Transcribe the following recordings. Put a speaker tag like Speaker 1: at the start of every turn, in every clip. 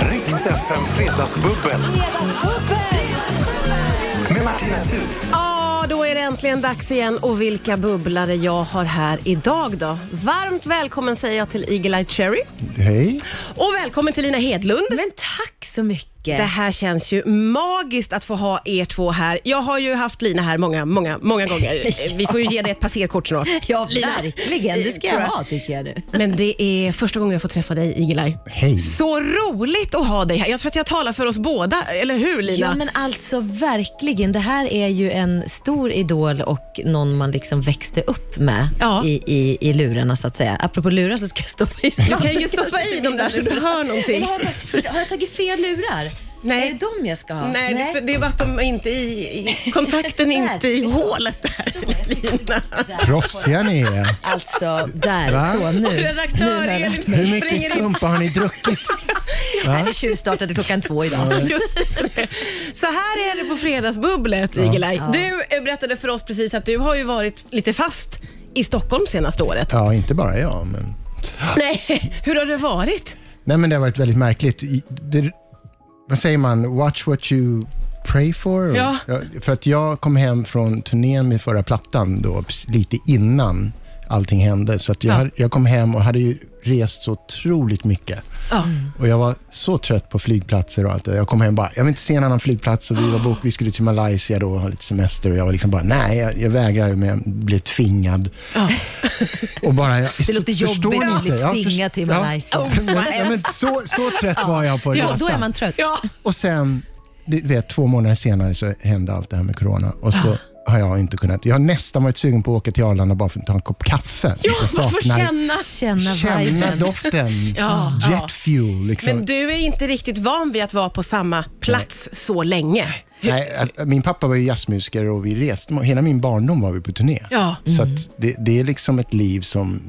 Speaker 1: FM Fredagsbubbel med Martina Thun.
Speaker 2: Ja, Ah, då är det äntligen dags igen och vilka bubblare jag har här idag då. Varmt välkommen säger jag till Eagle-Eye Cherry
Speaker 3: Hej.
Speaker 2: och välkommen till Lina Hedlund.
Speaker 4: Men tack så mycket.
Speaker 2: Det här känns ju magiskt att få ha er två här. Jag har ju haft Lina här många, många, många gånger.
Speaker 4: Ja.
Speaker 2: Vi får ju ge dig ett passerkort snart.
Speaker 4: Ja,
Speaker 2: Lina.
Speaker 4: verkligen. Det ska
Speaker 2: Tror
Speaker 4: jag ha tycker jag nu.
Speaker 2: Men det är första gången jag får träffa dig, Eagle-Eye.
Speaker 3: Hej.
Speaker 2: Så roligt att ha dig här. Jag tror att jag talar för oss båda, eller hur Lina?
Speaker 4: Ja men alltså verkligen. Det här är ju en stor idol och någon man liksom växte upp med
Speaker 2: Ja.
Speaker 4: i, i, i lurarna så att säga. Apropå lurar så ska jag stoppa i
Speaker 2: Du kan ju stoppa i dem där så du hör någonting.
Speaker 4: Eller har, jag tagit, har jag tagit fel lurar?
Speaker 2: Nej.
Speaker 4: Är det de jag ska ha?
Speaker 2: Nej, det är för- det är bara att de är inte i, i kontakten,
Speaker 4: Där.
Speaker 2: inte i hålet där. Lina.
Speaker 3: Proffsiga ni är.
Speaker 4: Alltså, där.
Speaker 3: Va?
Speaker 4: Så nu. nu
Speaker 2: Redaktör
Speaker 4: har jag
Speaker 2: Elin
Speaker 4: lärt mig.
Speaker 3: Hur mycket
Speaker 2: springer in.
Speaker 3: skumpa har ni druckit?
Speaker 4: Nej, vi tjuvstartade klockan två idag.
Speaker 3: Mm.
Speaker 2: Just det. Så här är det på Fredagsbubblet, Igelaj. Du eh, berättade för oss precis att du har ju varit lite fast i Stockholm senaste året.
Speaker 3: Ja, inte bara jag, men... Ah.
Speaker 2: Nej, hur har det varit?
Speaker 3: Nej, men det har varit väldigt märkligt. I- Det, vad säger man? Watch what you pray for?
Speaker 2: Ja.
Speaker 3: För att jag kom hem från turnén med förra plattan då, precis lite innan allting hände. Så att jag,
Speaker 2: Ja.
Speaker 3: hade- jag kom hem och hade ju rest så otroligt mycket.
Speaker 2: Ja.
Speaker 3: Och jag var så trött på flygplatser och allt det där. Jag kom hem bara, jag vill inte se en annan flygplats och vi var bok, vi skulle till Malaysia då och ha lite semester och jag var liksom bara, nej, jag, jag vägrar, men jag blev tvingad. Och bara, jag,
Speaker 4: Det låter
Speaker 3: förstår
Speaker 4: jobbigt
Speaker 3: ni
Speaker 4: att bli
Speaker 3: inte? Jag
Speaker 4: tvingad
Speaker 3: först-
Speaker 4: till
Speaker 3: ja.
Speaker 4: Malaysia. Oh
Speaker 3: Ja, men- ja, men så, så trött var jag på
Speaker 4: Ja,
Speaker 3: resan.
Speaker 4: då är man trött.
Speaker 2: Ja.
Speaker 3: Och sen, du vet, två månader senare så hände allt det här med corona. Och så har jag inte kunnat. Jag har nästan varit sugen på att åka till Arlanda bara för att ta en kopp kaffe.
Speaker 2: Jo,
Speaker 3: Jag
Speaker 2: man får
Speaker 3: saknar-
Speaker 2: känna.
Speaker 4: Känna,
Speaker 3: Känna
Speaker 4: viben.
Speaker 3: doften. Mm.
Speaker 2: Ja, ja.
Speaker 3: Jet fuel. Liksom.
Speaker 2: Men du är inte riktigt van vid att vara på samma plats så länge.
Speaker 3: Nej, att- min pappa var ju jazzmusiker och vi reste. Hela min barndom var vi på turné.
Speaker 2: Ja. Mm.
Speaker 3: Så att det, det är liksom ett liv som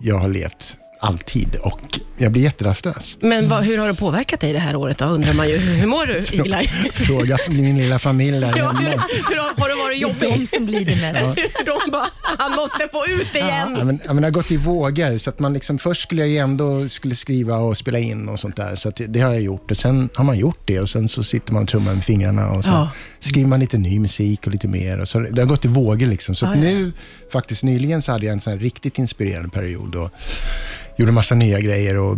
Speaker 3: jag har levt alltid och jag blir jätterastlös.
Speaker 2: Men vad, hur har det påverkat dig det här året då, undrar man ju. Hur mår du, Igelaj?
Speaker 3: Fråga min lilla familj där
Speaker 2: Ja, hur,
Speaker 3: hemma.
Speaker 2: hur har har det varit
Speaker 4: De
Speaker 2: jobbigt?
Speaker 4: som lider mest.
Speaker 2: De bara, han måste få ut det igen.
Speaker 3: Ja, men, ja, men det har gått i vågor. Så att man liksom, först skulle jag ju ändå skulle skriva och spela in och sånt där. Så att det, det har jag gjort. Och sen har man gjort det och sen så sitter man och trummar med fingrarna och så
Speaker 2: Ja.
Speaker 3: skriver man lite ny musik och lite mer. Och så, det har gått i vågor. Liksom. Så att nu, faktiskt nyligen, så hade jag en sån här riktigt inspirerande period. Och gjorde massa nya grejer och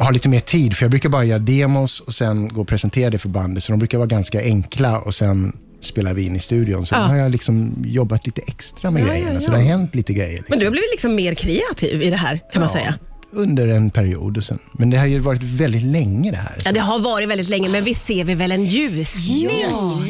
Speaker 3: har lite mer tid. För jag brukar bara göra demos och sen gå och presentera det för bandet. Så de brukar vara ganska enkla och sen spelar vi in i studion. Så
Speaker 2: Ja.
Speaker 3: då har jag liksom jobbat lite extra med
Speaker 2: Ja, ja,
Speaker 3: grejerna. Så
Speaker 2: ja.
Speaker 3: det har hänt lite grejer. Liksom.
Speaker 2: Men du har blivit liksom mer kreativ i det här kan man
Speaker 3: Ja,
Speaker 2: säga.
Speaker 3: Under en period. och Sen. Men det har ju varit väldigt länge det här.
Speaker 2: Ja, det har varit väldigt länge, men vi ser vi väl en ljusning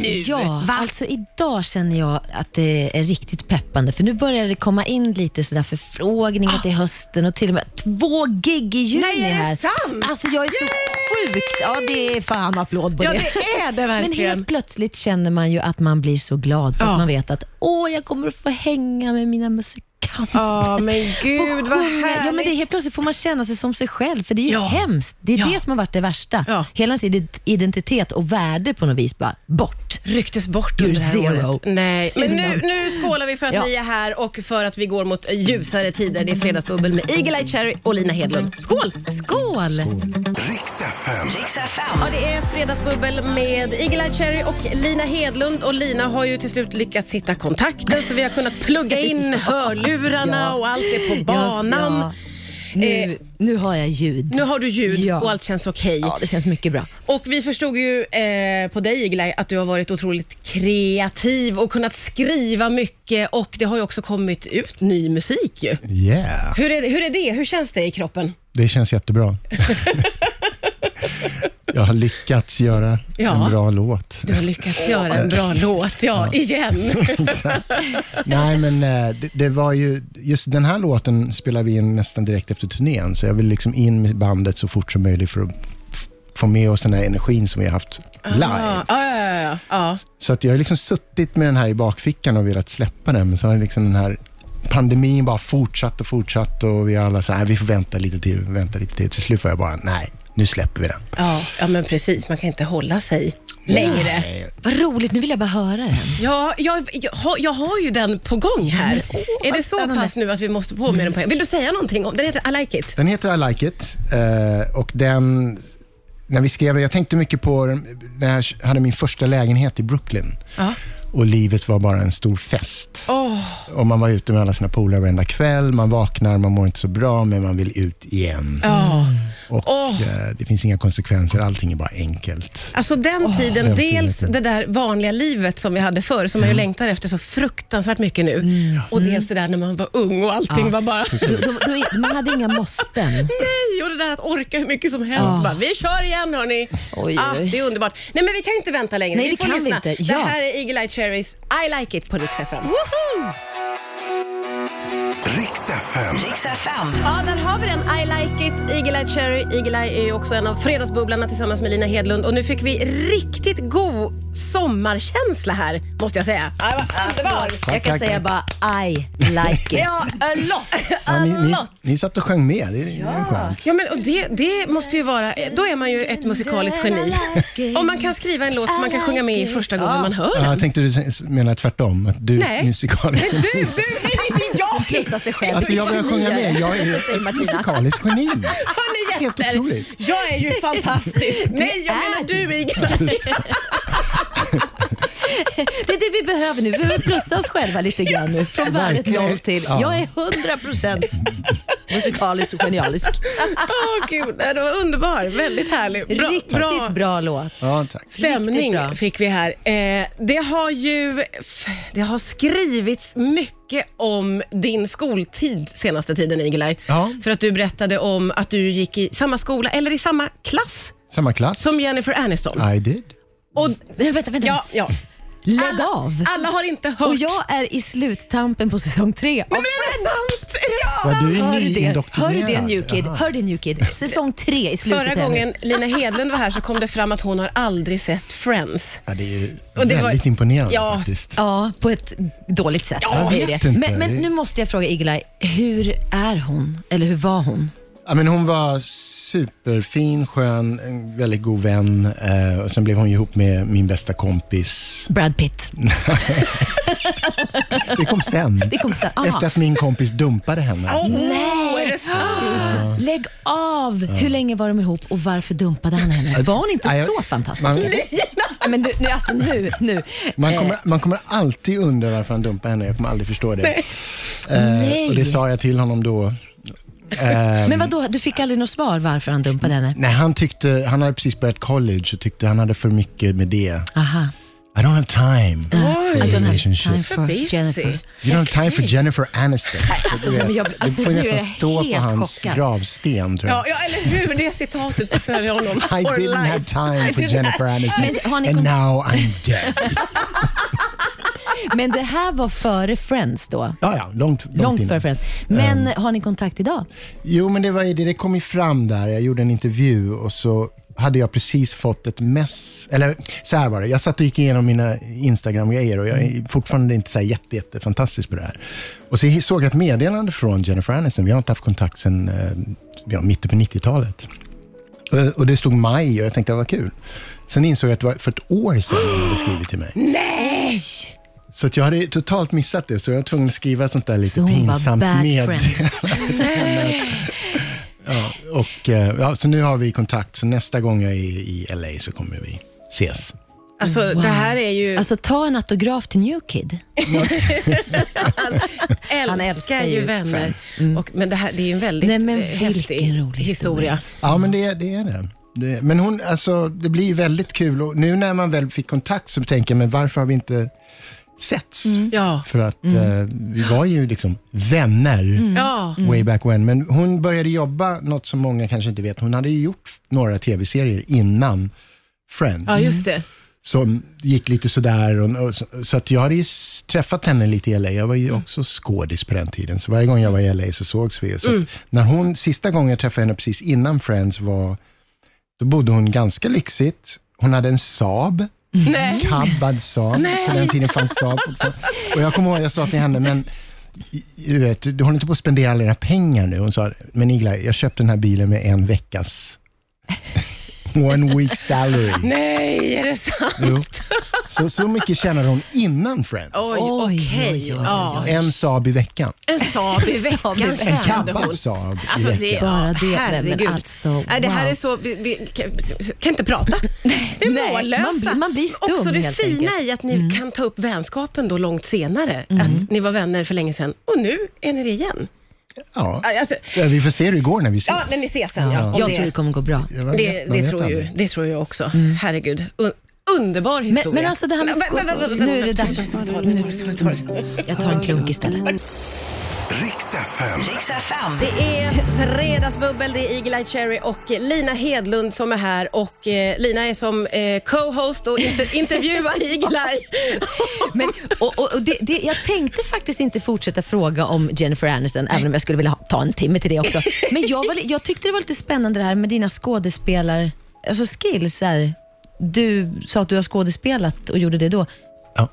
Speaker 2: nu?
Speaker 4: Ja,
Speaker 2: Va?
Speaker 4: alltså idag känner jag att det är riktigt peppande för nu börjar det komma in lite sådär förfrågningar till hösten och till och med två gig i juni
Speaker 2: Ah. Nej, är det
Speaker 4: här.
Speaker 2: sant?
Speaker 4: Alltså jag är så sjukt. Ja, det är fan applåd på
Speaker 2: Ja,
Speaker 4: det.
Speaker 2: det är det
Speaker 4: Men
Speaker 2: verkligen.
Speaker 4: helt plötsligt känner man ju att man blir så glad för
Speaker 2: Ja.
Speaker 4: att man vet att åh, jag kommer att få hänga med mina musikanter.
Speaker 2: Ja, men
Speaker 4: Få
Speaker 2: gud vad
Speaker 4: sjunga.
Speaker 2: härligt.
Speaker 4: ja, men det är Helt plötsligt får man känna sig som sig själv, för det är ju
Speaker 2: Ja.
Speaker 4: hemskt. Det är
Speaker 2: Ja.
Speaker 4: det som har varit det värsta.
Speaker 2: Ja.
Speaker 4: Hela ens ident- identitet och värde på något vis bara bort.
Speaker 2: Rycktes bort under det här
Speaker 4: zero.
Speaker 2: året. Nej. Men nu,
Speaker 4: Innan.
Speaker 2: nu skålar vi för att
Speaker 4: Ja.
Speaker 2: ni är här och för att vi går mot ljusare tider. Det är Fredagsbubbel med Eagle-Eye Cherry och Lina Hedlund. Skål!
Speaker 4: Skål!
Speaker 1: Riks FM.
Speaker 2: Ja, det är Fredagsbubbel med Eagle-Eye Cherry och Lina Hedlund. Och Lina har ju till slut lyckats hitta kontakten så vi har kunnat plugga in hörlurarna
Speaker 4: Ja.
Speaker 2: och allt är på banan. Eh,
Speaker 4: Ja, ja. Nu, nu har jag ljud.
Speaker 2: Nu har du ljud
Speaker 4: Ja.
Speaker 2: och allt känns okej.
Speaker 4: Ja, det känns mycket bra.
Speaker 2: Och vi förstod ju eh, på dig Iglaj att du har varit otroligt kreativ och kunnat skriva mycket och det har ju också kommit ut ny musik ju.
Speaker 3: Yeah.
Speaker 2: Hur är, det- hur är det? Hur känns det i kroppen?
Speaker 3: Det känns jättebra. jag har lyckats göra
Speaker 2: Ja.
Speaker 3: en bra låt.
Speaker 2: Du har lyckats göra en bra låt, ja, igen.
Speaker 3: Nej, men eh, det, det var ju... Just den här låten spelade vi in nästan direkt efter turnén, så jag vill liksom in med bandet så fort som möjligt för att f- få med oss den här energin som vi har haft live.
Speaker 2: Ja, ja, ja, ja, ja.
Speaker 3: Så att jag har liksom suttit med den här i bakfickan och velat släppa den, men så har liksom den här pandemin bara fortsatt och fortsatt och vi har alla så här, vi får vänta lite till, vänta lite till. Till slut var jag bara, nej, nu släpper vi den.
Speaker 2: ja, ja men precis. Man kan inte hålla sig längre.
Speaker 3: Nej.
Speaker 4: Vad roligt, nu vill jag bara höra den.
Speaker 2: Ja, jag, jag, har, jag har ju den på gång här.
Speaker 4: men, åh,
Speaker 2: är det
Speaker 4: vad
Speaker 2: så
Speaker 4: spännande.
Speaker 2: pass nu att vi måste på med den på Vill du säga någonting om den? heter I like it.
Speaker 3: Den heter I like it eh, och den när vi skrev det, jag tänkte mycket på den- när jag hade min första lägenhet i Brooklyn.
Speaker 2: Ja.
Speaker 3: Och livet var bara en stor fest. Och man var ute med alla sina polare varenda kväll. Man vaknar, man mår inte så bra, men man vill ut igen.
Speaker 2: Ja.
Speaker 4: Mm.
Speaker 3: Och
Speaker 2: Åh.
Speaker 3: eh, det finns inga konsekvenser, allting är bara enkelt.
Speaker 2: Alltså den tiden,
Speaker 3: Den
Speaker 2: dels
Speaker 3: friheten.
Speaker 2: det där vanliga livet som vi hade förr, som man ju
Speaker 4: Mm.
Speaker 2: längtar efter så fruktansvärt mycket nu. Och dels det där när man var ung och allting var bara...
Speaker 4: Då, då, då, man hade inga måsten.
Speaker 2: Nej, och det där att orka hur mycket som helst. Bara, vi kör igen hörni.
Speaker 4: Ah. Oj,
Speaker 2: ah,
Speaker 4: oj.
Speaker 2: det är underbart. Nej men vi kan inte vänta längre.
Speaker 4: Nej,
Speaker 2: vi
Speaker 4: det
Speaker 2: får
Speaker 4: kan vi
Speaker 2: lyssna.
Speaker 4: inte. Ja.
Speaker 2: Det här är Eagle Eye Cherries I Like It på Rix FM.
Speaker 1: Riks FM.
Speaker 2: Ja, där har vi den. I like it, Eagle Eye Cherry. Eagle Eye är ju också en av Fredagsbubblarna tillsammans med Lina Hedlund. Och nu fick vi riktigt god sommarkänsla här, måste jag säga. Ja, det var Underbar!
Speaker 4: Jag kan
Speaker 3: tack.
Speaker 4: säga bara I like it.
Speaker 2: Ja, a lot!
Speaker 3: Ja, ni, ni,
Speaker 2: lot.
Speaker 3: ni satt och sjöng med, det är ja. skönt.
Speaker 2: Ja, men och det, det måste ju vara, eh, då är man ju ett musikaliskt geni. Om man kan skriva en låt som man kan sjunga med i första gången man hör
Speaker 3: Ja,
Speaker 2: den.
Speaker 3: jag tänkte du menar tvärtom, att du
Speaker 2: Nej.
Speaker 3: är musikalisk.
Speaker 2: Men du, du, det är inte jag!
Speaker 4: Plussa sig själv.
Speaker 3: Alltså jag börjar sjunga med, jag är
Speaker 4: Säger
Speaker 3: ett
Speaker 4: Martina.
Speaker 3: musikaliskt geni.
Speaker 2: Hörni
Speaker 3: Helt
Speaker 2: gäster,
Speaker 3: otroligt.
Speaker 2: jag är ju fantastisk. Nej, jag
Speaker 4: är
Speaker 2: menar
Speaker 4: du.
Speaker 2: du Eagle Eye.
Speaker 4: Det är det vi behöver nu. Vi behöver plussa oss själva lite grann nu. Från värdet
Speaker 3: Verkligen.
Speaker 4: noll till.
Speaker 3: Ja.
Speaker 4: Jag är 100% musikaliskt och genialisk.
Speaker 2: Åh gud, nej, det var underbar. Väldigt härlig. Bra,
Speaker 4: Riktigt
Speaker 2: bra
Speaker 4: bra, låt.
Speaker 3: Ja, tack.
Speaker 2: stämning
Speaker 4: Riktigt bra.
Speaker 2: fick vi här. Eh, det har ju f- det har skrivits mycket om din skoltid senaste tiden, Igelaj.
Speaker 3: Ja.
Speaker 2: För att du berättade om att du gick i samma skola, eller i samma klass,
Speaker 3: Samma klass.
Speaker 2: som Jennifer Aniston.
Speaker 3: I did.
Speaker 2: Och,
Speaker 4: Nej, vänta, vänta.
Speaker 2: ja, ja.
Speaker 4: Lägg
Speaker 2: Alla,
Speaker 4: av.
Speaker 2: alla har inte hört.
Speaker 4: Och jag är i sluttampen på säsong tre. av
Speaker 2: Men är det sant? Är det sant?
Speaker 3: Ja, du är
Speaker 4: Hör du det? Hör
Speaker 3: nyindoktrinerad.
Speaker 4: du det new kid?
Speaker 3: Jaha.
Speaker 4: Hör du new kid? Säsong tre i slutet.
Speaker 2: Förra
Speaker 4: här nu.
Speaker 2: gången Lina Hedlund var här så kom det fram att hon har aldrig sett Friends.
Speaker 3: Ja, det är ju
Speaker 2: Och det var-
Speaker 3: väldigt imponerande
Speaker 2: Ja.
Speaker 3: faktiskt.
Speaker 4: Ja, på ett dåligt sätt.
Speaker 3: Jag
Speaker 4: det är
Speaker 3: vet
Speaker 4: det.
Speaker 3: inte.
Speaker 4: Men, men nu måste jag fråga Igelaj, hur är hon? Eller hur var hon?
Speaker 3: Ja, men hon var superfin, skön, en väldigt god vän. Eh, och sen blev hon ju ihop med min bästa kompis.
Speaker 4: Brad Pitt.
Speaker 3: Det kom sen.
Speaker 4: Det kom så här,
Speaker 3: Efter
Speaker 4: aha.
Speaker 3: att min kompis dumpade henne.
Speaker 2: Åh, är det sant?
Speaker 4: Lägg av! Hur länge var de ihop och varför dumpade han henne? Var hon inte
Speaker 3: Ja, Ah, jag-
Speaker 4: så fantastisk?
Speaker 3: Man,
Speaker 4: Nej, Men du, nu, alltså nu, nu.
Speaker 3: man,
Speaker 4: Eh,
Speaker 3: kommer, man kommer alltid undra varför han dumpade henne. Jag kommer aldrig förstå det. Eh,
Speaker 4: Nej.
Speaker 3: och det sa jag till honom då. Eh,
Speaker 4: Men vadå, du fick aldrig något svar varför han dumpade henne?
Speaker 3: nej, han, tyckte, han hade precis börjat college och tyckte han hade för mycket med det.
Speaker 4: Aha.
Speaker 3: I don't have time.
Speaker 4: I don't have
Speaker 3: Relationship.
Speaker 4: time for
Speaker 2: Busy.
Speaker 4: Jennifer.
Speaker 3: You don't have time for Jennifer Aniston.
Speaker 4: Alltså,
Speaker 3: Du vet,
Speaker 4: men jag- alltså,
Speaker 3: du får
Speaker 4: nu är
Speaker 3: nästan
Speaker 4: jag
Speaker 3: stå på
Speaker 4: helt
Speaker 3: hans
Speaker 4: chockad.
Speaker 3: gravsten. Tror jag.
Speaker 2: Ja, ja, eller hur? Det citatet förföljer honom
Speaker 3: I
Speaker 2: for
Speaker 3: didn't
Speaker 2: life.
Speaker 3: have time for
Speaker 2: didn't
Speaker 3: Jennifer Aniston
Speaker 4: Men har ni
Speaker 3: and
Speaker 4: kon-
Speaker 3: now I'm dead.
Speaker 4: Men det här var före Friends då?
Speaker 3: Ja, ja, långt, långt,
Speaker 4: Långt
Speaker 3: innan.
Speaker 4: före Friends. Men har ni kontakt idag?
Speaker 3: Jo, men det var ju det. Det kom ju fram där. Jag gjorde en intervju och så hade jag precis fått ett mess. Eller så här var det. Jag satt och gick igenom mina Instagram-grejer och jag är
Speaker 4: Mm.
Speaker 3: fortfarande inte så här jätte, jätte fantastisk på det här. Och så såg jag ett meddelande från Jennifer Aniston. Vi har inte haft kontakt sedan eh, ja, mitten på 90-talet. Och, och det stod maj och jag tänkte, vad kul. Sen insåg jag att det var för ett år sedan hon hade skrivit till mig. Nej! Så att jag hade totalt missat det, så jag var tvungen att skriva ett sånt där lite
Speaker 4: Så hon var
Speaker 3: pinsamt
Speaker 4: bad
Speaker 3: med.
Speaker 4: friend.
Speaker 3: Och, eh, ja, så nu har vi kontakt, så nästa gång jag är i LA så kommer vi ses.
Speaker 2: Alltså, det här är ju...
Speaker 4: Alltså ta en autograf till New Kid.
Speaker 2: älskar,
Speaker 4: Han älskar
Speaker 2: ju
Speaker 4: ju
Speaker 2: vänner. Mm.
Speaker 4: Friends. Mm.
Speaker 2: Och, men det här det är ju en väldigt
Speaker 4: Nej, men
Speaker 2: eh, häftig
Speaker 4: vilken rolig
Speaker 2: historia.
Speaker 4: historia.
Speaker 3: Ja, men det, det är det. det. Men hon, alltså, det blir ju väldigt kul och nu när man väl fick kontakt så tänker jag, men varför har vi inte setts?
Speaker 2: Ja.
Speaker 3: För att
Speaker 2: Mm.
Speaker 3: eh, vi var ju liksom vänner.
Speaker 4: Mm.
Speaker 2: Ja.
Speaker 3: Way back when. Men hon började jobba, något som många kanske inte vet, hon hade ju gjort några tv-serier innan Friends.
Speaker 2: ja, just det.
Speaker 3: som gick lite sådär. Och, och, så, så att jag hade ju s- träffat henne lite i LA. Jag var ju också skådis på den tiden. Så varje gång jag var i LA så sågs vi. Och Så När hon, sista gången jag träffade henne precis innan Friends var, då bodde hon ganska lyxigt. Hon hade en Saab.
Speaker 4: Mm.
Speaker 2: Nej.
Speaker 3: Mm. Kabbad Saab. På den tiden fanns Saab fortfarande. Och jag kommer ihåg, jag sa till henne, men du, vet, du håller inte på att spendera alla dina pengar nu. Hon sa, men Igla, jag köpte den här bilen med en veckas, one week salary.
Speaker 2: Nej, är det sant?
Speaker 3: Jo. Så, så mycket tjänar hon innan Friends.
Speaker 2: Oj,
Speaker 4: Oj,
Speaker 2: okej.
Speaker 4: oj, oj, oj,
Speaker 2: Ja.
Speaker 3: En Saab i veckan.
Speaker 2: En Saab i veckan
Speaker 4: Saab i veckan.
Speaker 2: tjänade
Speaker 3: Kabbad
Speaker 2: hon.
Speaker 3: Saab i
Speaker 2: Alltså det,
Speaker 3: veckan.
Speaker 4: Bara det, nej, men
Speaker 2: herregud.
Speaker 4: alltså,
Speaker 2: Nej, det här
Speaker 4: wow.
Speaker 2: är så, vi, vi kan, kan inte prata. Vi är
Speaker 4: Nej,
Speaker 2: mållösa.
Speaker 4: man blir- man blir stum,
Speaker 2: Också det
Speaker 4: helt
Speaker 2: fina
Speaker 4: enkelt.
Speaker 2: i att ni kan ta upp vänskapen då långt senare. Att ni var vänner för länge sedan och nu är ni det igen.
Speaker 3: Ja.
Speaker 2: Alltså,
Speaker 3: Ja, Vi får se hur det går när vi ses.
Speaker 2: ja, när ni ses sen. Ja. om
Speaker 4: Jag
Speaker 2: det,
Speaker 4: tror det kommer gå bra.
Speaker 3: Ja, man
Speaker 2: det,
Speaker 3: vet- man
Speaker 2: det,
Speaker 3: vet
Speaker 2: tror ju,
Speaker 3: aldrig.
Speaker 2: det tror jag också. Herregud. Un, underbar historia.
Speaker 4: men alltså det här med
Speaker 2: Vä- vä- vä- vä- vä-
Speaker 4: nu är det dags.
Speaker 2: Ta det, ta det, ta det, ta det.
Speaker 4: Jag tar en klunk istället.
Speaker 1: Riks FM.
Speaker 2: Det är fredagsbubbel, det är Eagle-Eye Cherry och Lina Hedlund som är här och eh, Lina är som eh, co-host och inter- intervjuar Eagle-Eye.
Speaker 4: Men, och, och, och det, det, jag tänkte faktiskt inte fortsätta fråga om Jennifer Aniston, även om jag skulle vilja ha, ta en timme till det också. Men jag, var, li- jag tyckte det var lite spännande det här med dina skådespelar, alltså skills. Här. Du sa att du har skådespelat och gjorde det då.
Speaker 3: Ja.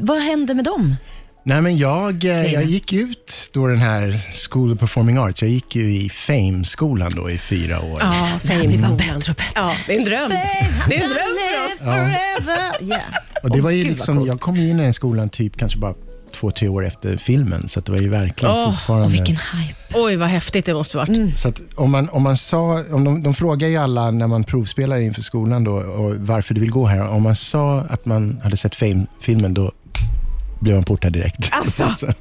Speaker 4: Vad hände med dem?
Speaker 3: Nej, men jag, eh,
Speaker 4: Lena.
Speaker 3: jag gick ut då den här School of Performing Arts. Jag gick ju i Fame-skolan då i fyra år.
Speaker 2: Ja,
Speaker 4: det här blir bara bättre och bättre.
Speaker 2: Ja, det är en dröm. Det är en dröm för oss.
Speaker 4: Forever. Yeah.
Speaker 3: Och det
Speaker 4: Åh,
Speaker 3: var ju
Speaker 4: gud, vad
Speaker 3: liksom,
Speaker 4: coolt.
Speaker 3: jag kom ju in i den skolan typ kanske bara två, tre år efter filmen. Så att det var ju verkligen
Speaker 2: Åh, och
Speaker 3: fortfarande...
Speaker 4: Och vilken hype.
Speaker 2: Oj, vad häftigt det måste varit.
Speaker 3: Så att om man, om man sa, om de, de frågar ju alla när man provspelar inför skolan då, och varför du vill gå här. Om man sa att man hade sett Fame- filmen, då blev man portad direkt.
Speaker 2: Alltså.
Speaker 3: Så-
Speaker 4: Det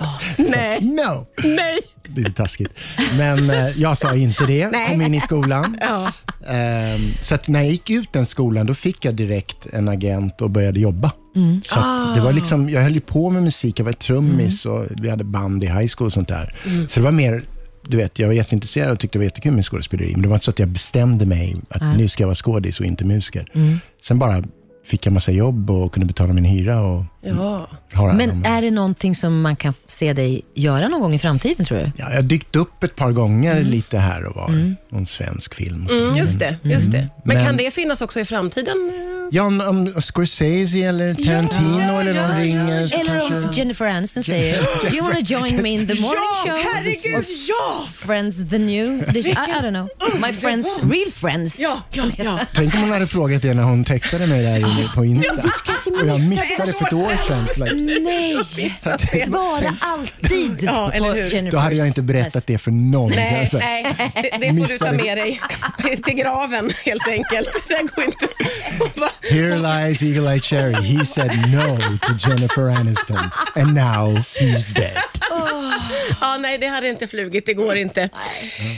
Speaker 4: var så
Speaker 2: Nej,
Speaker 3: no!
Speaker 2: nej.
Speaker 3: Lite taskigt. Men eh, jag sa inte det, kom in i skolan.
Speaker 2: Ja.
Speaker 3: Ehm, så att när jag gick ut den skolan, då fick jag direkt en agent och började jobba.
Speaker 4: Mm.
Speaker 3: Så
Speaker 4: Ah.
Speaker 3: att det var liksom, jag höll ju på med musik, jag var trummis
Speaker 4: Mm.
Speaker 3: och vi hade band i high school och sånt där. Så det var mer, du vet, jag var jätteintresserad och tyckte det var jättekul med skådespeleri, men det var inte så att jag bestämde mig att nu ska jag vara skådis och inte musiker.
Speaker 4: Mm.
Speaker 3: Sen bara fick jag massa jobb och kunde betala min hyra och
Speaker 2: Ja.
Speaker 3: ha hand om
Speaker 4: Men är det någonting som man kan se dig göra någon gång i framtiden tror du?
Speaker 3: Ja, jag har dykt upp ett par gånger
Speaker 4: Mm.
Speaker 3: lite här och var. Någon svensk film. och så.
Speaker 2: Mm, just det, just det. Men,
Speaker 3: Men-
Speaker 2: kan det finnas också i framtiden?
Speaker 3: Ja, om, om Scorsese eller Tarantino
Speaker 2: Ja,
Speaker 3: eller någon
Speaker 2: ja, ja,
Speaker 3: ringer. Så
Speaker 4: Eller
Speaker 3: kanske...
Speaker 4: om Jennifer Aniston säger, do you wanna join me in the morning
Speaker 2: ja,
Speaker 4: show?
Speaker 2: herregud, ja!
Speaker 4: Friends the new, the, I, I don't know, my friends, real friends.
Speaker 2: Ja, ja, ja.
Speaker 3: Tänk om hon hade frågat det när hon textade mig där inne på Insta. Och jag missade för ett år sedan. Like,
Speaker 4: Nej, svara alltid
Speaker 2: Ja, eller
Speaker 4: på
Speaker 2: hur?
Speaker 4: Jennifer.
Speaker 3: då hade jag inte berättat det för någon. kan
Speaker 2: Nej,
Speaker 3: jag säga.
Speaker 2: nej. Det, det får du ta
Speaker 3: Missade.
Speaker 2: med dig till, till graven helt enkelt. Det här går inte.
Speaker 3: Here lies Eagle Eye Cherry. He said no to Jennifer Aniston. And now he's dead.
Speaker 2: Ja, nej, det hade inte flugit. Det går inte.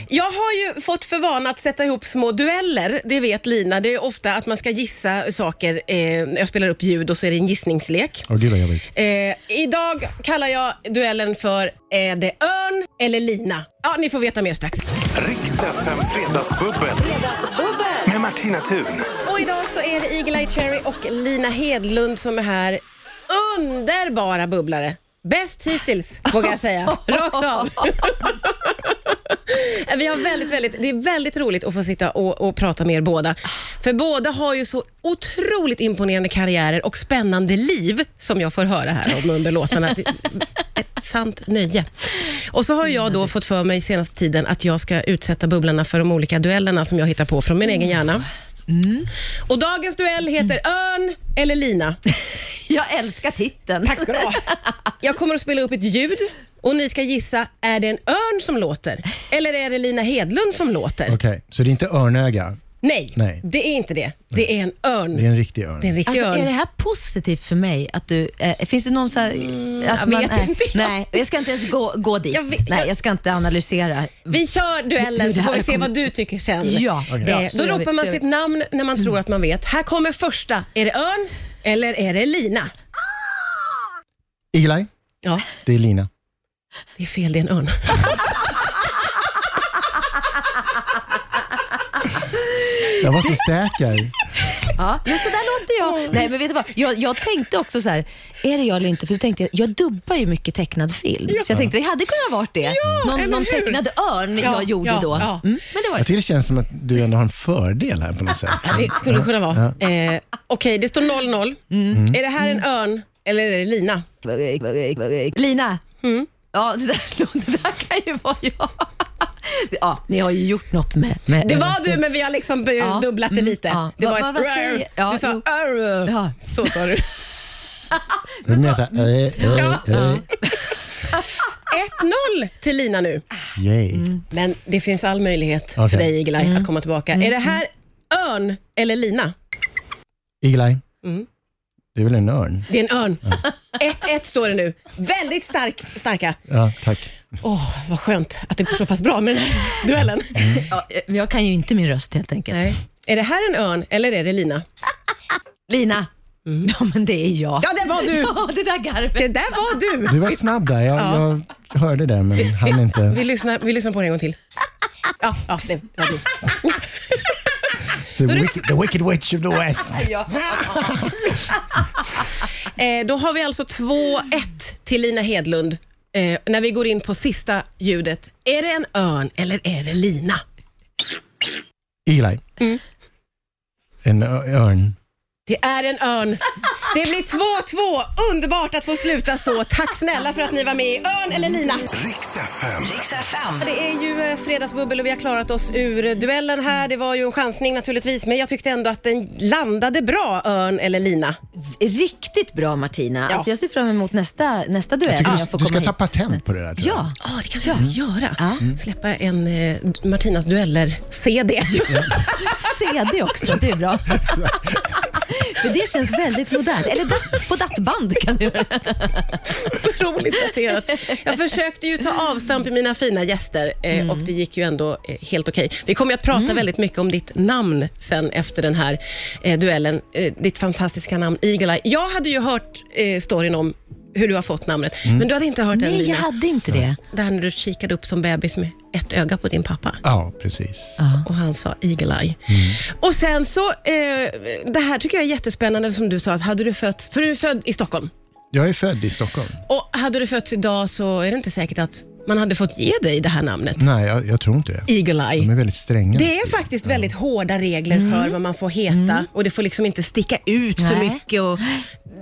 Speaker 2: Jag har ju fått för vana att sätta ihop små dueller. Det vet Lina. Det är ofta att man ska gissa saker. Eh, jag spelar upp ljud och så är det en gissningslek.
Speaker 3: Åh gud vad jobbigt.
Speaker 2: Eh, idag kallar jag duellen för Är det örn eller lina? Ja, ni får veta mer strax.
Speaker 1: Riks FM Fredagsbubbel. Med Martina Thun.
Speaker 2: Och idag så är det Eagle-Eye Cherry och Lina Hedlund som är här. Underbara bubblare. Bäst hittills, vågar jag säga. Rakt av. Vi har väldigt, väldigt, det är väldigt roligt att få sitta och, och prata med er båda. För båda har ju så otroligt imponerande karriärer och spännande liv, som jag får höra här om under låtarna. Det- Ett sant nöje. Och så har jag då fått för mig senaste tiden att jag ska utsätta bubblarna för de olika duellerna som jag hittar på från min egen hjärna. Och dagens duell heter Örn eller Lina.
Speaker 4: Jag älskar titeln.
Speaker 2: Tack ska du ha. Jag kommer att spela upp ett ljud och ni ska gissa, är det en örn som låter? Eller är det Lina Hedlund som låter?
Speaker 3: Okej, så det är inte örnöga.
Speaker 2: Nej,
Speaker 3: Nej.
Speaker 2: det är inte det. Det är en örn.
Speaker 3: Det är en riktig
Speaker 2: Det är en
Speaker 3: örn.
Speaker 2: riktig
Speaker 4: Alltså, är
Speaker 2: örn.
Speaker 4: det här positivt för mig? Att du, eh, finns det någon så här... att
Speaker 2: Mm, jag vet
Speaker 4: nej,
Speaker 2: inte.
Speaker 4: nej, jag ska inte ens gå, gå dit.
Speaker 2: Jag vet-
Speaker 4: nej, jag ska inte analysera.
Speaker 2: Vi kör duellen
Speaker 4: Nu,
Speaker 2: så
Speaker 4: det här
Speaker 2: får vi se
Speaker 4: kommer-
Speaker 2: vad du tycker sen.
Speaker 4: Ja,
Speaker 2: Eh,
Speaker 4: bra. Så
Speaker 2: Då
Speaker 4: gör vi-
Speaker 2: ropar
Speaker 4: så
Speaker 2: man
Speaker 4: gör
Speaker 2: sitt
Speaker 4: vi.
Speaker 2: namn när man tror att man vet. Här kommer första. Är det örn eller är det lina?
Speaker 3: Eagle Eye,
Speaker 2: Ja,
Speaker 3: det är Lina.
Speaker 2: det är fel. Det är en örn.
Speaker 3: Jag var så säker.
Speaker 4: Ja, men så där låter jag. Nej, men vet du vad? Jag, jag tänkte också så här, är det jag eller inte? För då tänkte jag, jag dubbar ju mycket tecknad film. Så jag tänkte det hade kunnat varit det. någon
Speaker 2: eller
Speaker 4: någon
Speaker 2: hur?
Speaker 4: tecknad örn
Speaker 2: Ja,
Speaker 4: jag gjorde
Speaker 2: ja,
Speaker 4: då.
Speaker 2: ja.
Speaker 4: Mm, men det var
Speaker 3: Jag
Speaker 4: det.
Speaker 3: tycker det känns som att du ändå har en fördel här på något sätt.
Speaker 2: Det skulle det kunna vara. Eh, Okej, det står 0-0.
Speaker 3: Mm.
Speaker 2: Är det här en örn eller är det lina? Mm.
Speaker 4: Lina. Ja, det där, lå- det där kan ju vara jag. Ja, ni har ju gjort något med... med
Speaker 2: Det var du, men vi har liksom be-
Speaker 4: Eh, Ja.
Speaker 2: dubblat det
Speaker 4: Mm,
Speaker 2: lite.
Speaker 4: ja.
Speaker 2: Det
Speaker 4: Va-
Speaker 2: var
Speaker 4: va-
Speaker 2: ett
Speaker 4: vad
Speaker 2: rrr.
Speaker 4: säger- ja,
Speaker 2: Du sa
Speaker 4: jo.
Speaker 2: arr.
Speaker 4: Ja.
Speaker 2: Så sa du. 1-0
Speaker 3: Men jag sa, äh, äh, äh,
Speaker 2: till Lina nu.
Speaker 3: yay.
Speaker 2: Men det finns all möjlighet för
Speaker 3: Okej.
Speaker 2: dig, Igelaj,
Speaker 4: Mm.
Speaker 2: att komma tillbaka. Är det här örn eller lina?
Speaker 3: Eagle-Eye. Det är väl en örn?
Speaker 2: Det är en örn. 1-1 står det nu. Väldigt stark, starka.
Speaker 3: Ja, tack.
Speaker 2: Åh, vad skönt att det går så pass bra med den här duellen.
Speaker 4: Ja, jag kan ju inte min röst helt enkelt.
Speaker 2: Nej. Är det här en örn eller är det lina?
Speaker 4: Lina. Ja, men det är jag.
Speaker 2: Mm. Ja, det var du!
Speaker 4: Ja, det där
Speaker 2: Det
Speaker 4: garvet.
Speaker 2: där var du!
Speaker 3: Du var snabb där. Jag, jag hörde det, men hann inte.
Speaker 2: Vi lyssnar, vi lyssnar på det en gång till. Ja, ja det var du.
Speaker 3: The wicked, the wicked Witch of the West.
Speaker 2: Eh, då har vi alltså 2-1 till Lina Hedlund. Eh, när vi går in på sista ljudet. Är det en örn eller är det lina?
Speaker 3: Eagle-Eye. En ö- örn.
Speaker 2: Det är en örn. Det blir 2-2. Underbart att få sluta så. Tack snälla för att ni var med i Örn eller lina.
Speaker 1: Riks FM.
Speaker 2: Det är ju eh, fredagsbubbel och vi har klarat oss ur duellen här. Det var ju en chansning naturligtvis, men jag tyckte ändå att den landade bra, Örn eller lina.
Speaker 4: Riktigt bra Martina.
Speaker 2: Ja.
Speaker 4: Alltså, jag ser fram emot nästa, nästa duell.
Speaker 3: Tycker
Speaker 4: när
Speaker 3: du-
Speaker 4: jag får
Speaker 3: du ska
Speaker 4: komma
Speaker 3: ta
Speaker 4: hit.
Speaker 3: patent på det där. tror jag.
Speaker 4: Ja,
Speaker 2: Ja, det kanske jag ska göra. Mm. Släppa en eh, Martinas dueller-CD.
Speaker 4: CD också. Det är bra. För det känns väldigt modernt. Eller datt, på dattband kan du göra det.
Speaker 2: Otroligt daterat. Jag försökte ju ta avstamp i mina fina gäster eh,
Speaker 4: Mm.
Speaker 2: och det gick ju ändå eh, helt okej. Vi kommer ju att prata väldigt mycket om ditt namn sen efter den här eh, duellen. Eh, ditt fantastiska namn Eagle Eye. Jag hade ju hört eh, storyn om hur du har fått namnet, men du hade inte hört den
Speaker 4: Mm. Nej, jag
Speaker 2: Lina.
Speaker 4: hade inte det.
Speaker 2: Där när du kikade upp som bebis med ett öga på din pappa
Speaker 3: Ja, precis.
Speaker 2: och han sa Eagle Eye.
Speaker 4: Mm.
Speaker 2: Och sen så, eh, det här tycker jag är jättespännande som du sa, att hade du fötts, för du är född i Stockholm,
Speaker 3: Jag är född i Stockholm.
Speaker 2: och hade du fötts idag så är det inte säkert att man hade fått ge dig det här namnet,
Speaker 3: Nej, jag, jag tror inte det.
Speaker 2: Eagle
Speaker 3: De
Speaker 2: Eye.
Speaker 4: Mm.
Speaker 3: är väldigt stränga.
Speaker 2: Det är faktiskt väldigt hårda regler för vad man får heta och det får liksom inte sticka ut för
Speaker 4: Mm. Nej. Mm.
Speaker 2: mycket. Och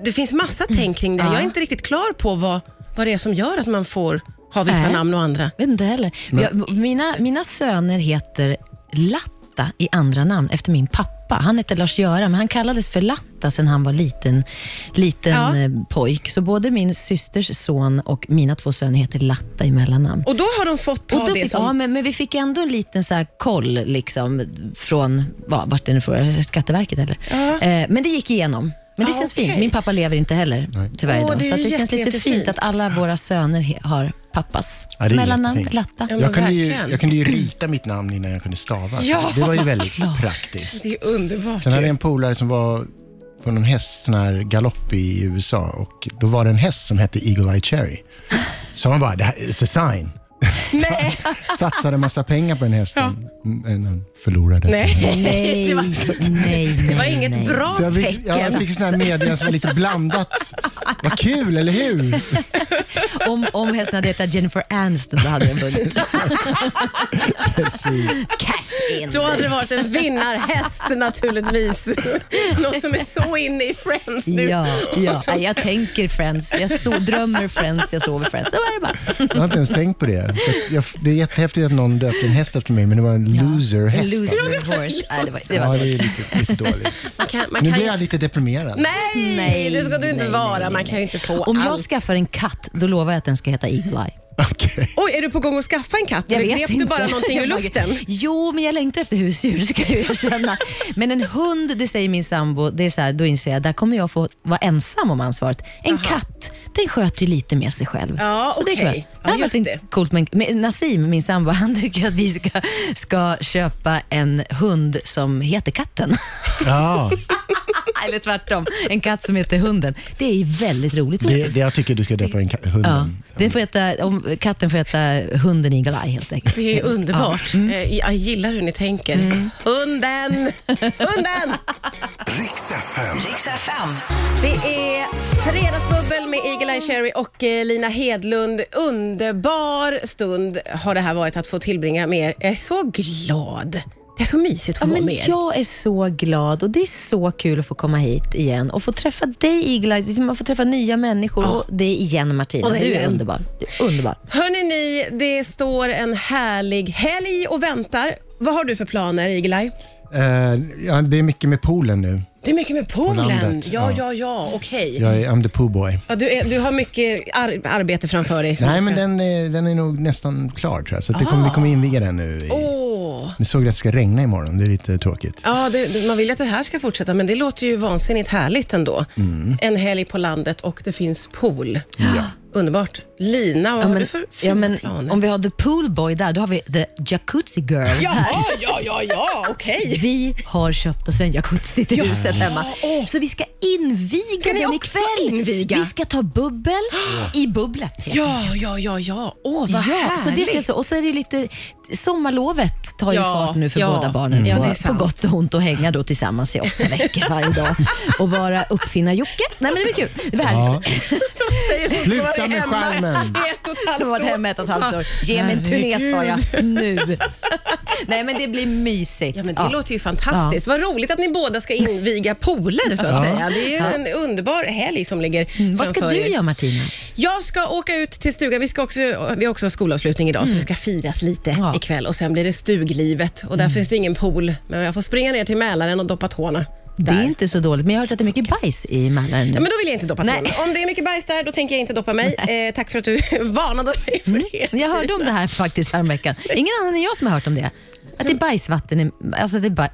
Speaker 2: det finns massa tänk kring det här. Jag är inte riktigt klar på vad, vad det är som gör att man får ha vissa
Speaker 4: Nej.
Speaker 2: namn och andra.
Speaker 4: vet inte heller. Jag, mina, mina söner heter Latta i andra namn efter min pappa. Han hette Lars-Göran, men han kallades för Latta sen han var liten, liten
Speaker 2: Ja.
Speaker 4: eh, pojk. Så både min systers son och mina två söner heter Latta i mellannamn.
Speaker 2: Och då har de fått ta
Speaker 4: Och då
Speaker 2: det
Speaker 4: fick,
Speaker 2: som...
Speaker 4: ja, men, men vi fick ändå en liten så här koll liksom, från va, vart den är ifrån, Skatteverket eller? Eh, men det gick igenom. Men det
Speaker 2: Ja,
Speaker 4: känns fint.
Speaker 2: Ah, okej.
Speaker 4: Min pappa lever inte heller tyvärr
Speaker 2: Åh,
Speaker 4: idag.
Speaker 2: det är
Speaker 4: så
Speaker 2: ju
Speaker 4: att det känns
Speaker 2: jätte-
Speaker 4: lite
Speaker 2: jättefint.
Speaker 4: fint att alla våra söner he, har pappas
Speaker 3: Ja, det är
Speaker 4: mellannamn,
Speaker 3: jättefint.
Speaker 4: Latta.
Speaker 2: Ja, men
Speaker 3: Jag kunde, ju,
Speaker 2: verkligen.
Speaker 3: jag kunde ju rita mitt namn innan jag kunde stava. så
Speaker 2: Ja,
Speaker 3: det var ju väldigt praktiskt.
Speaker 2: Det är underbart.
Speaker 3: Sen hade jag
Speaker 2: ju.
Speaker 3: en polare som var på någon häst, sån här galopp i USA. Och då var det en häst som hette Eagle Eye Cherry. Så han bara, det här, it's a sign.
Speaker 2: Nej.
Speaker 3: Satsade massa pengar på den hästen, men han förlorade.
Speaker 2: Nej.
Speaker 4: Nej,
Speaker 2: Det var-
Speaker 4: nej,
Speaker 2: Det var
Speaker 4: nej,
Speaker 2: inget
Speaker 4: nej.
Speaker 2: bra
Speaker 3: Så jag fick,
Speaker 2: tecken.
Speaker 3: ja, jag fick sån här meddelande som var lite blandat. Vad kul, eller hur?
Speaker 4: Om, om hästen hade hetat Jennifer Aniston, då hade den vunnit.
Speaker 3: Precis.
Speaker 4: Cash in!
Speaker 2: Då hade det varit en vinnarhäst naturligtvis. Något som är så inne i Friends nu.
Speaker 4: Ja, ja. Nej, jag tänker Friends. Jag so drömmer Friends, jag sover Friends. Så är det bara.
Speaker 3: Jag har inte ens tänkt på det. Så att jag, det är jättehäftigt att någon döpte en häst efter mig, men det var en loser-häst. alltså.
Speaker 4: Loser horse. Ja, det var, det
Speaker 3: Ja,
Speaker 4: var
Speaker 3: det är lite, lite dåligt.
Speaker 2: Man kan, man
Speaker 3: Nu
Speaker 2: kan
Speaker 3: blir
Speaker 2: ju...
Speaker 3: jag lite deprimerad.
Speaker 2: Nej,
Speaker 4: Nej,
Speaker 2: det ska du inte
Speaker 4: nej,
Speaker 2: vara.
Speaker 4: nej,
Speaker 2: Man kan ju inte få
Speaker 4: Om jag
Speaker 2: allt.
Speaker 4: skaffar en katt, då lovar jag att den ska heta Eagle Eye.
Speaker 3: Okej.
Speaker 2: Oj, är du på gång att skaffa en katt?
Speaker 4: Jag
Speaker 2: Eller
Speaker 4: vet
Speaker 2: grep
Speaker 4: inte.
Speaker 2: du bara någonting ur
Speaker 4: Jag bara-
Speaker 2: luften?
Speaker 4: Jo, men jag längtar efter husdjur, ska jag ju erkänna. Men en hund, det säger min sambo, det är så här, då inser jag där kommer jag få vara ensam om ansvaret. En katt, den sköter ju lite med sig själv.
Speaker 2: Ja,
Speaker 4: så det
Speaker 2: okej.
Speaker 4: är skönt.
Speaker 2: Ja,
Speaker 4: Det har
Speaker 2: just
Speaker 4: varit en-
Speaker 2: det.
Speaker 4: coolt. Men, men Nassim, min sambo, han tycker att vi ska, ska köpa en hund som heter katten.
Speaker 3: Ja,
Speaker 4: Eller tvärtom, en katt som heter hunden. Det är ju väldigt roligt faktiskt.
Speaker 3: det, det jag tycker du ska döpa den ka-
Speaker 4: Ja.
Speaker 3: hunden.
Speaker 4: Den får heta, om, katten får heta hunden Eagle Eye helt enkelt.
Speaker 2: Det är underbart.
Speaker 4: Mm.
Speaker 2: Eh, Jag gillar hur ni tänker. Hunden! Hunden!
Speaker 1: Riks FM.
Speaker 2: Det är fredagsbubbel med Eagle-Eye Cherry och eh, Lina Hedlund. Underbar stund har det här varit att få tillbringa med er. Jag är så glad Det är så mysigt att
Speaker 4: Ja,
Speaker 2: få vara
Speaker 4: men
Speaker 2: med er.
Speaker 4: jag är så glad och det är så kul att få komma hit igen och få träffa dig Igla. Liksom, Man får träffa nya människor och dig igen Martina.
Speaker 2: Och dig
Speaker 4: Du är
Speaker 2: igen.
Speaker 4: underbar. Du är underbar.
Speaker 2: Hörrni ni, det står en härlig helg och väntar. Vad har du för planer, Igelaj?
Speaker 3: Eh, ja, det är mycket med poolen nu.
Speaker 2: Det är mycket med Polen.
Speaker 3: landet,
Speaker 2: Ja,
Speaker 3: ja.
Speaker 2: ja, ja, okej.
Speaker 3: Jag är, I'm the poo boy.
Speaker 2: Ja, du, är, du har mycket ar- arbete framför dig. som
Speaker 3: Nej,
Speaker 2: du
Speaker 3: men
Speaker 2: ska- Ah.
Speaker 3: den är, den är nog nästan klar tror jag. Så att det kommer, vi kommer inviga den nu. I,
Speaker 2: Åh.
Speaker 3: Vi såg att det ska regna imorgon, det är lite tråkigt.
Speaker 2: Oh. Ja, det, det- man vill ju att det här ska fortsätta, men det låter ju vansinnigt härligt ändå.
Speaker 3: Mm.
Speaker 2: En helg på landet och det finns pool. Underbart. Lina, vad har du för fina
Speaker 4: ja, men,
Speaker 2: planer?
Speaker 4: om vi har the pool boy där, då har vi the jacuzzi girl.
Speaker 2: Jaha, ja, ja, ja, okej.
Speaker 4: Vi har köpt oss en jacuzzi till huset hemma.
Speaker 2: åh.
Speaker 4: Så vi ska inviga
Speaker 2: Ska ni
Speaker 4: den
Speaker 2: också
Speaker 4: ikväll.
Speaker 2: inviga?
Speaker 4: Vi ska ta bubbel i bubblet. helt
Speaker 2: Ja, ja, ja, ja. Åh, vad
Speaker 4: ja,
Speaker 2: härligt.
Speaker 4: så det ser jag så. Och så är det ju lite, sommarlovet tar ju
Speaker 2: Ja,
Speaker 4: fart nu för
Speaker 2: ja. Mm.
Speaker 4: båda barnen
Speaker 2: Ja, det är
Speaker 4: på, på
Speaker 2: sant.
Speaker 4: gott och ont och hänga då tillsammans i åtta veckor varje dag och vara uppfinnar-Jocke. Nej men det blir kul. Det blir härligt.
Speaker 3: Ja.
Speaker 2: Som säger så,
Speaker 3: Sluta
Speaker 2: ska vara
Speaker 3: med
Speaker 2: hemma
Speaker 3: skärmen.
Speaker 2: i ett och ett halvt
Speaker 4: Så var det
Speaker 2: år.
Speaker 4: hemma ett och ett halvt år. Ge mig en turné sa jag, nu. Nej men det blir mysigt.
Speaker 2: Ja, men det låter ju fantastiskt. Vad roligt att ni båda ska inviga poler så att säga. Det är ju en underbar helg som ligger
Speaker 4: Mm, Vad ska
Speaker 2: framför
Speaker 4: du
Speaker 2: er.
Speaker 4: göra Martina?
Speaker 2: Jag ska åka ut till stugan. Vi, ska också, vi har också skolavslutning idag, så det ska firas lite
Speaker 4: Mm. Ja. Mm.
Speaker 2: ikväll. Och Sen blir det stuglivet och där finns det ingen pool. Men jag får springa ner till Mälaren och doppa tårna.
Speaker 4: Det
Speaker 2: där.
Speaker 4: är inte så dåligt, men jag har hört att det är mycket bajs i Mälaren nu.
Speaker 2: Ja, men då vill jag inte doppa
Speaker 4: Nej.
Speaker 2: tårna. Om det är mycket bajs där, då tänker jag inte doppa mig. Eh, tack för att du varnade mig för det.
Speaker 4: Mm. Jag hörde om det här faktiskt häromveckan. Ingen annan än jag som har hört om det. Att det är bajsvatten, i, alltså det är baj,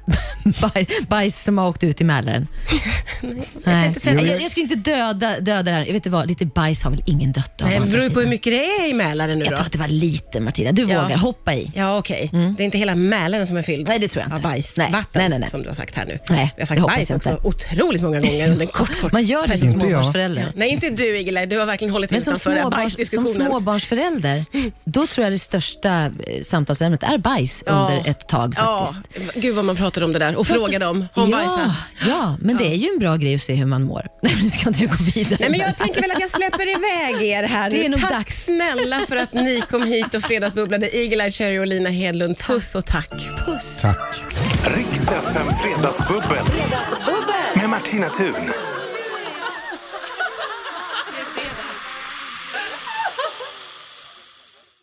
Speaker 4: baj, bajs som har åkt ut i Mälaren. Nej.
Speaker 2: inte säga
Speaker 4: Jag,
Speaker 2: det.
Speaker 4: jag, jag skulle inte döda, döda det här. Jag vet inte vad, lite bajs har väl ingen dött av?
Speaker 2: Nej,
Speaker 4: å
Speaker 2: Eh, det
Speaker 4: andra
Speaker 2: beror ju på hur
Speaker 4: sidan.
Speaker 2: mycket det är i Mälaren nu
Speaker 4: Mm. jag
Speaker 2: då.
Speaker 4: tror att det var lite Martina. Du
Speaker 2: Ja.
Speaker 4: vågar hoppa i.
Speaker 2: Ja, okej. Det är inte hela Mälaren som är fylld
Speaker 4: Nej, det tror jag
Speaker 2: av
Speaker 4: inte.
Speaker 2: bajs.
Speaker 4: Nej.
Speaker 2: Vatten,
Speaker 4: Nej, nej, nej.
Speaker 2: som du har sagt här nu.
Speaker 4: Nej,
Speaker 2: jag har
Speaker 4: det
Speaker 2: sagt
Speaker 4: hoppas
Speaker 2: bajs
Speaker 4: jag
Speaker 2: också
Speaker 4: inte.
Speaker 2: otroligt måga gånger under en kort, kort
Speaker 4: Man gör det som
Speaker 3: Inte jag.
Speaker 4: småbarnsförälder.
Speaker 2: Ja. Nej, inte du Igela. Du har verkligen hållit
Speaker 4: Men som,
Speaker 2: utanför den här
Speaker 4: småbarns, som
Speaker 2: bajsdiskussionen.
Speaker 4: småbarnsförälder, då tror jag det största eh, samtalsämnet är bajs under ett tag faktiskt.
Speaker 2: Ja, gud vad man pratade om det där och frågade om. Har hon
Speaker 4: ja,
Speaker 2: bajsat?
Speaker 4: Ja, men det är ju en bra grej att se hur man mår. Nej, men nu ska inte jag gå vidare.
Speaker 2: Nej, men jag
Speaker 4: med det här.
Speaker 2: tänker väl att jag släpper iväg er här
Speaker 4: Det är
Speaker 2: nu.
Speaker 4: nog
Speaker 2: Tack
Speaker 4: dags.
Speaker 2: snälla för att ni kom hit och fredagsbubblade. Eagle-Eye Cherry och Lina Hedlund. Puss och tack.
Speaker 4: Puss.
Speaker 3: Tack.
Speaker 1: Riks FM Fredagsbubbel. Med Martina Thun.